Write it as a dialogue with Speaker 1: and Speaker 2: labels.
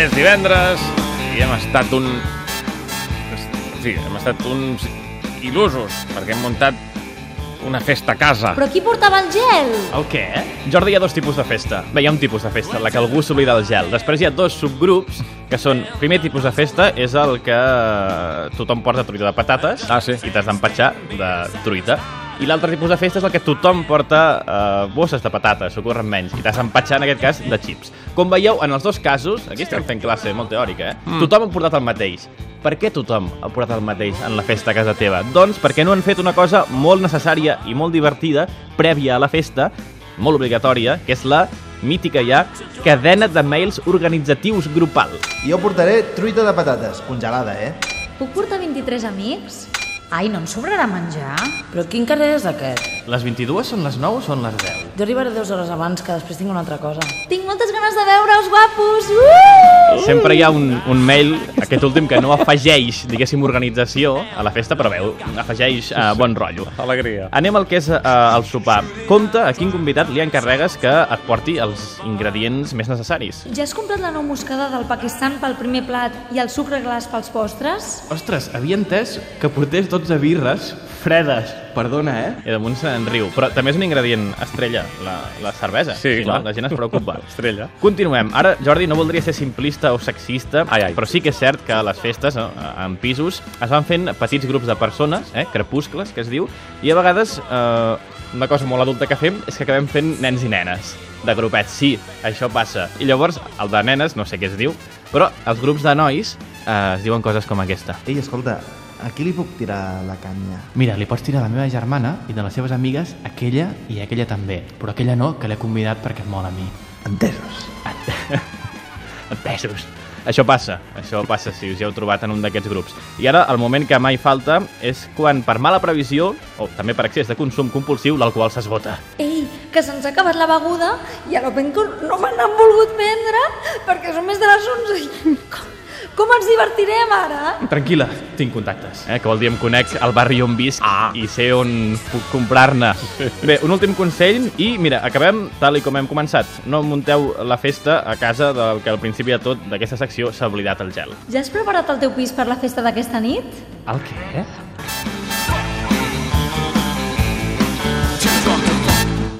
Speaker 1: És divendres i hem estat un... Sí, hem estat uns il·lusos, perquè hem muntat una festa a casa.
Speaker 2: Però qui portava el gel?
Speaker 3: El què? Jordi, hi ha dos tipus de festa. Bé, hi ha un tipus de festa, en la que algú s'oblida el gel. Després hi ha dos subgrups, que són... Primer tipus de festa és el que tothom porta truita de patates
Speaker 1: Ah, sí.
Speaker 3: i t'has d'empatxar de truita. I l'altre tipus de festa és el que tothom porta eh, bosses de patates, s'ho corren menys, i t'has d'empatxar, en aquest cas, de xips. Com veieu, en els dos casos, aquí estem fent classe molt teòrica, eh? Mm. Tothom ha portat el mateix. Per què tothom ha portat el mateix en la festa a casa teva? Doncs perquè no han fet una cosa molt necessària i molt divertida prèvia a la festa, molt obligatòria, que és la mítica ja cadena de mails organitzatius grupal.
Speaker 4: Jo portaré truita de patates, congelada, eh?
Speaker 2: Puc portar 23 amics? Ai, no em sobrarà menjar?
Speaker 5: Però quin carrer és aquest?
Speaker 3: Les 22 són les 9 o són les 10?
Speaker 5: Jo arribaré dues hores abans, que després tinc una altra cosa.
Speaker 2: Tinc moltes ganes de veure-us, guapos! Uh!
Speaker 3: Sempre hi ha un, un mail, aquest últim, que no afegeix, diguéssim, organització a la festa, però veu, afegeix eh, bon rotllo.
Speaker 1: Alegria.
Speaker 3: Anem al que és eh, el sopar. Compte a quin convidat li encarregues que et porti els ingredients més necessaris.
Speaker 2: Ja has comprat la nou moscada del Pakistan pel primer plat i el sucre glaç pels postres?
Speaker 3: Ostres, havia entès que portés 12 birres fredes. Perdona, eh? I damunt se'n riu. Però també és un ingredient estrella, la, la cervesa.
Speaker 1: Sí,
Speaker 3: no,
Speaker 1: clar.
Speaker 3: La gent es preocupa.
Speaker 1: Estrella.
Speaker 3: Continuem. Ara, Jordi, no voldria ser simplista o sexista,
Speaker 1: Ai, ai.
Speaker 3: però sí que és cert que a les festes, no, en pisos, es van fent petits grups de persones, eh, crepuscles, que es diu, i a vegades eh, una cosa molt adulta que fem és que acabem fent nens i nenes, de grupets. Sí, això passa. I llavors, el de nenes, no sé què es diu, però els grups de nois eh, es diuen coses com aquesta.
Speaker 4: Ei, escolta, a qui li puc tirar la canya?
Speaker 3: Mira, li pots tirar a la meva germana i de les seves amigues aquella i aquella també, però aquella no, que l'he convidat perquè em mola a mi.
Speaker 4: Entesos.
Speaker 3: Entesos. Això passa, això passa si us hi heu trobat en un d'aquests grups. I ara, el moment que mai falta és quan, per mala previsió, o també per excés de consum compulsiu, l'alcohol s'esgota.
Speaker 2: Ei, que se'ns ha acabat la beguda i a l'Openco no me n'han volgut prendre perquè són més de les 11. I Com, com ens divertirem ara?
Speaker 3: Tranquil·la, tinc contactes. Eh, que vol dir, em conec al barri on visc ah. i sé on puc comprar-ne. Bé, un últim consell i, mira, acabem tal i com hem començat. No munteu la festa a casa del que al principi de tot d'aquesta secció s'ha oblidat el gel.
Speaker 2: Ja has preparat el teu pis per la festa d'aquesta nit?
Speaker 3: El què?